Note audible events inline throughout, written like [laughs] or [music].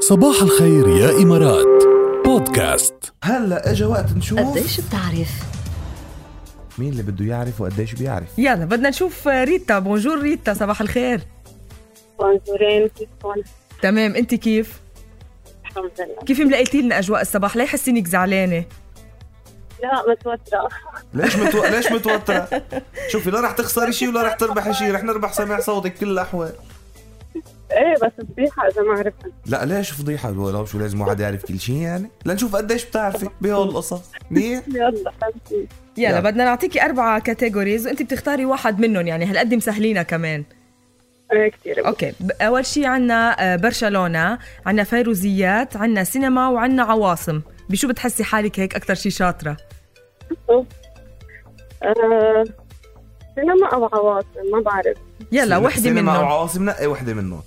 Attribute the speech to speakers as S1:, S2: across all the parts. S1: صباح الخير يا إمارات بودكاست
S2: هلا اجى وقت نشوف
S3: قديش بتعرف؟
S2: مين اللي بده يعرف وقديش بيعرف
S4: يلا بدنا نشوف ريتا بونجور ريتا صباح الخير
S5: بونجورين كيفكم؟
S4: تمام انت كيف
S5: الحمد لله
S4: كيف ملقيتي لنا اجواء الصباح لا يحسينك زعلانه
S5: لا متوترة
S2: ليش متو... ليش متوتره شوفي لا رح تخسري شيء ولا رح تربحي شيء رح نربح سماع صوتك كل الاحوال
S5: ايه بس فضيحة إذا ما عرفت
S2: لا ليش فضيحه لو شو لازم واحد يعرف كل شيء يعني لنشوف قديش بتعرفي بهول القصص منيح
S5: يلا خمسين
S2: يلا.
S4: يلا, يلا. بدنا نعطيكي أربعة كاتيجوريز وانت بتختاري واحد منهم يعني هالقد مسهلينها كمان
S5: ايه كثير
S4: اوكي ب- اول شيء عنا آه، برشلونة عنا فيروزيات عنا سينما وعنا عواصم بشو بتحسي حالك هيك اكثر شيء شاطره
S5: آه، سينما او عواصم ما بعرف
S4: يلا وحده
S2: سينما أو
S4: منهم
S2: عواصم نقي وحده منهم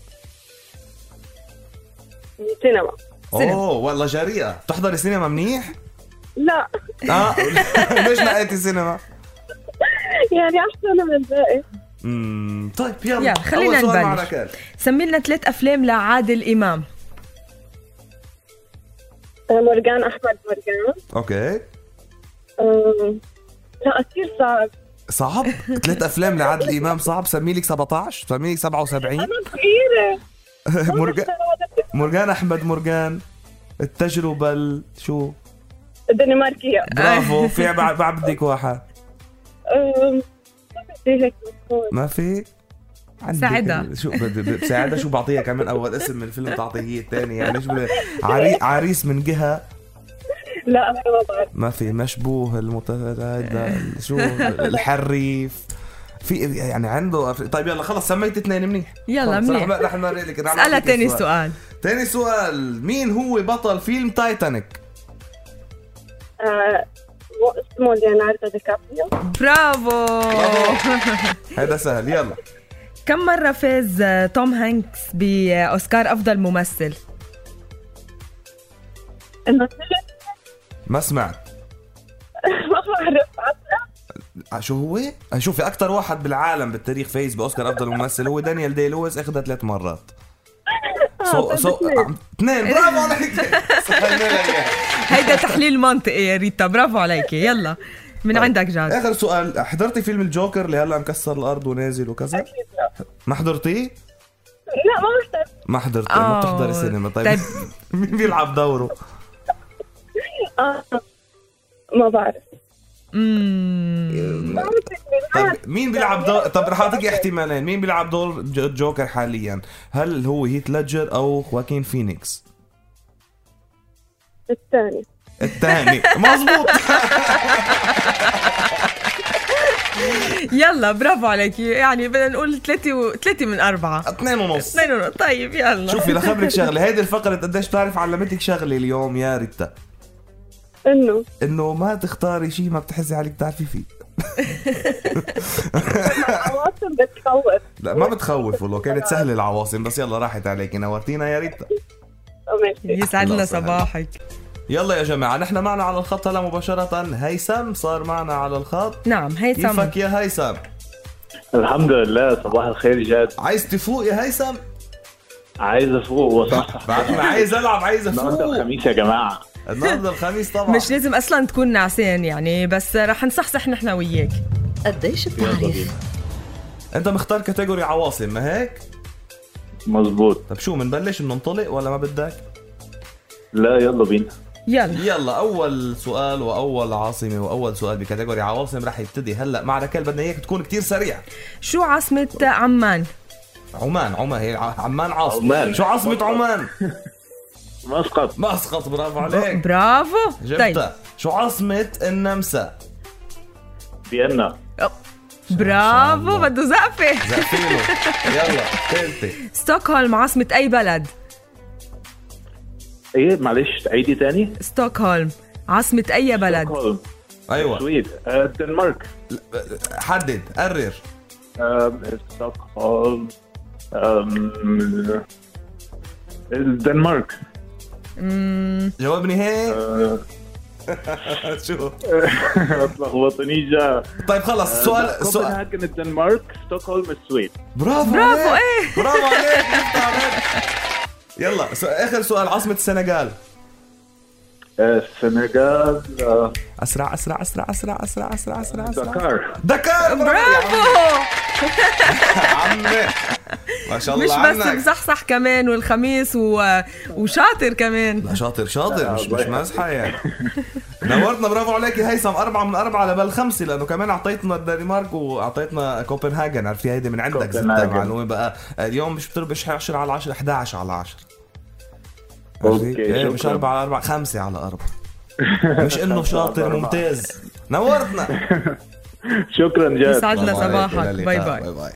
S5: سينما
S4: سينما.
S2: اوه والله جريئه بتحضري سينما منيح
S5: لا [laughs]
S2: اه [laughs] ليش نقيتي سينما
S5: يعني احسن من الباقي
S2: امم طيب يلا
S4: يلا، خلينا
S2: أول سؤال مع
S4: نبلش.
S2: ركال.
S4: سمي لنا ثلاث افلام لعادل امام
S5: آه، مرجان احمد مرجان
S2: اوكي
S5: آه، لا كثير صعب
S2: صعب ثلاث افلام لعادل امام صعب سمي لك 17 سمي لك 77
S5: انا صغيرة
S2: مرجان مرجان احمد مرجان التجربه ال- شو
S5: الدنماركية
S4: [laughs]
S2: برافو في بعد بعد بدك واحد
S5: آه، ما بدي هيك مفهوم.
S2: ما في عندك
S4: ساعدها.
S2: ال- شو ب- ب- بساعدها شو بعطيها كمان اول اسم من الفيلم تعطيه هي الثاني يعني شو بدها- عري... عريس من جهه
S5: لا أنا ما بعرف
S2: ما في مشبوه المت... هيدا ال- شو الحريف في يعني عنده أف- طيب يلا خلص سميت اثنين منيح
S4: يلا،
S2: خلص، رح
S4: منيح.
S2: بقى- رح نوري لك رح
S4: اسالها
S2: نعطيك
S4: ثاني
S2: السؤال.
S4: سؤال
S2: تاني سؤال مين هو بطل فيلم تايتانيك
S5: آه، مو اسمه ليوناردو دي كابريو
S4: برافو
S2: هذا سهل يلا
S4: كم مرة فاز آه، توم هانكس بأوسكار أفضل ممثل؟
S5: [laughs] انه ثلاث
S2: ما سمعت
S5: ما بعرف عشرة
S2: شو هو؟ شوفي اكثر واحد بالعالم بالتاريخ فايز باوسكار افضل ممثل هو دانيال دي لويس اخذها ثلاث مرات سو
S4: آه،
S5: طيب
S2: سو
S5: اثنين.
S2: عم- اثنين برافو عليك
S4: [laughs]
S2: سهلنا لك إياها.
S4: هيدا تحليل منطقي يا ريتا برافو عليكي يلا من
S2: طيب.
S4: عندك جاد
S2: اخر سؤال حضرتي فيلم الجوكر اللي هلا مكسر الارض ونازل وكذا؟ ما حضرتيه؟
S5: لا ما بحتاج
S2: ما حضرتيه ما
S4: آه.
S2: بتحضري سينما طيب
S4: طيب.
S2: [laughs] مين بيلعب دوره؟
S5: آه، ما بعرف
S4: مم.
S2: طيب مين بيلعب دور طب رح اعطيك احتمالين مين بيلعب دور ج- جوكر حاليا هل هو هيت ليدجر او خواكين فينيكس
S5: الثاني
S4: [laughs]
S2: الثاني مزبوط
S4: يلا برافو عليكي يعني بدنا نقول ثلاثة و... ثلاثة من أربعة
S2: اثنين ونص
S4: اثنين ونص. طيب [laughs] يلا
S2: شوفي لخبرك شغله هيدي الفقره قديش بتعرف علمتك شغله اليوم يا ريتا
S5: انه
S2: انه ما تختاري شيء ما بتحزي عليك تعرفي فيه
S5: عواصم بتخوف
S2: لا ما بتخوف والله كانت سهله العواصم بس يلا راحت عليك نورتينا يا ريتا
S5: ماشي
S4: يسعد
S2: الله
S4: لنا
S2: يسعدك.
S4: صباحك
S2: يلا يا جماعه نحن معنا على الخط هلا مباشره هيثم صار معنا على الخط
S4: نعم هيثم
S2: كيفك يا هيثم
S6: الحمد لله صباح الخير جاد
S2: عايز تفوق يا هيثم
S6: عايز افوق واصحصح
S2: بعد ما عايز العب عايز
S6: النهارده
S2: افوق
S6: الخميس يا جماعه
S2: النهارده الخميس طبعا
S4: مش لازم أصلا تكون نعسان يعني بس رح نصحصح نحن وياك
S3: قديش بتعرف؟
S2: انت مختار كاتيجوري عواصم ما هيك
S6: مظبوط
S2: طب شو منبلش بننطلق ولا ما بدك
S6: لا يلا بينا
S4: يلا
S2: يلا اول سؤال واول عاصمه واول سؤال بكاتيجوري عواصم رح يبتدي هلا مع ركال بدنا اياك تكون كتير سريع
S4: شو عاصمة عمان؟
S2: عمان عمان هي ع- عمان عاصمه
S6: عمان.
S2: شو عاصمة عمان
S6: مسقط
S2: مسقط برافو عليك
S4: برافو طيب
S2: إيه. جبتها شو عاصمة النمسا
S6: فيينا
S4: برافو بده زقفة
S2: زقفيله يلا ثالثة
S4: ستوكهولم عاصمة أي بلد؟
S6: ايه معلش عيدي تاني
S4: ستوكهولم عاصمة أي بلد؟
S6: ستوكهولم.
S2: ايوه
S6: السويد آه، الدنمارك
S2: حدد قرر
S6: آم، ستوكهولم آم، الدنمارك [laughs]
S4: مم،
S2: جواب نهائي
S6: آه،
S2: [laughs] شو
S6: ما تلخبطنيش جاد
S2: طيب خلص السؤال السؤال
S6: آه، كوبنهاجن الدنمارك ستوكهولم السويد
S2: برافو
S4: برافو،
S2: عليك. برافو عليك جبت عليك يلا س- اخر سؤال عاصمة السنغال
S6: آه، السنغال آه،
S2: اسرع اسرع اسرع اسرع اسرع اسرع اسرع اسرع
S6: [laughs] دكار
S2: دكار
S4: برافو
S2: عمي ما شاء
S4: مش
S2: الله
S4: بس
S2: عنك
S4: مصحصح كمان والخميس و... وشاطر كمان
S2: لا شاطر شاطر
S6: لا،
S2: مش
S6: الله
S2: مش
S6: يخليك.
S2: مازحه يعني نورتنا برافو عليك يا هيثم أربعة من أربعة لبل خمسة لأنه كمان أعطيتنا الدنمارك وأعطيتنا كوبنهاجن عرفتي هيدي من عندك زدت
S6: كوبنهاجن.
S2: معلومة بقى اليوم مش بتربح 10 على 10 11 على 10
S6: أوكي،
S2: عرفتي؟ إيه، مش
S6: شكراً.
S2: 4 على 4 5 على
S6: [laughs]
S2: 4 مش إنه
S6: خمسة على
S2: شاطر
S6: أربعة.
S2: ممتاز نورتنا
S6: شكرا جاد
S4: يسعدنا
S2: برافو عليك،
S4: صباحك
S2: إلى
S4: باي
S2: اللقاء.
S4: باي
S2: باي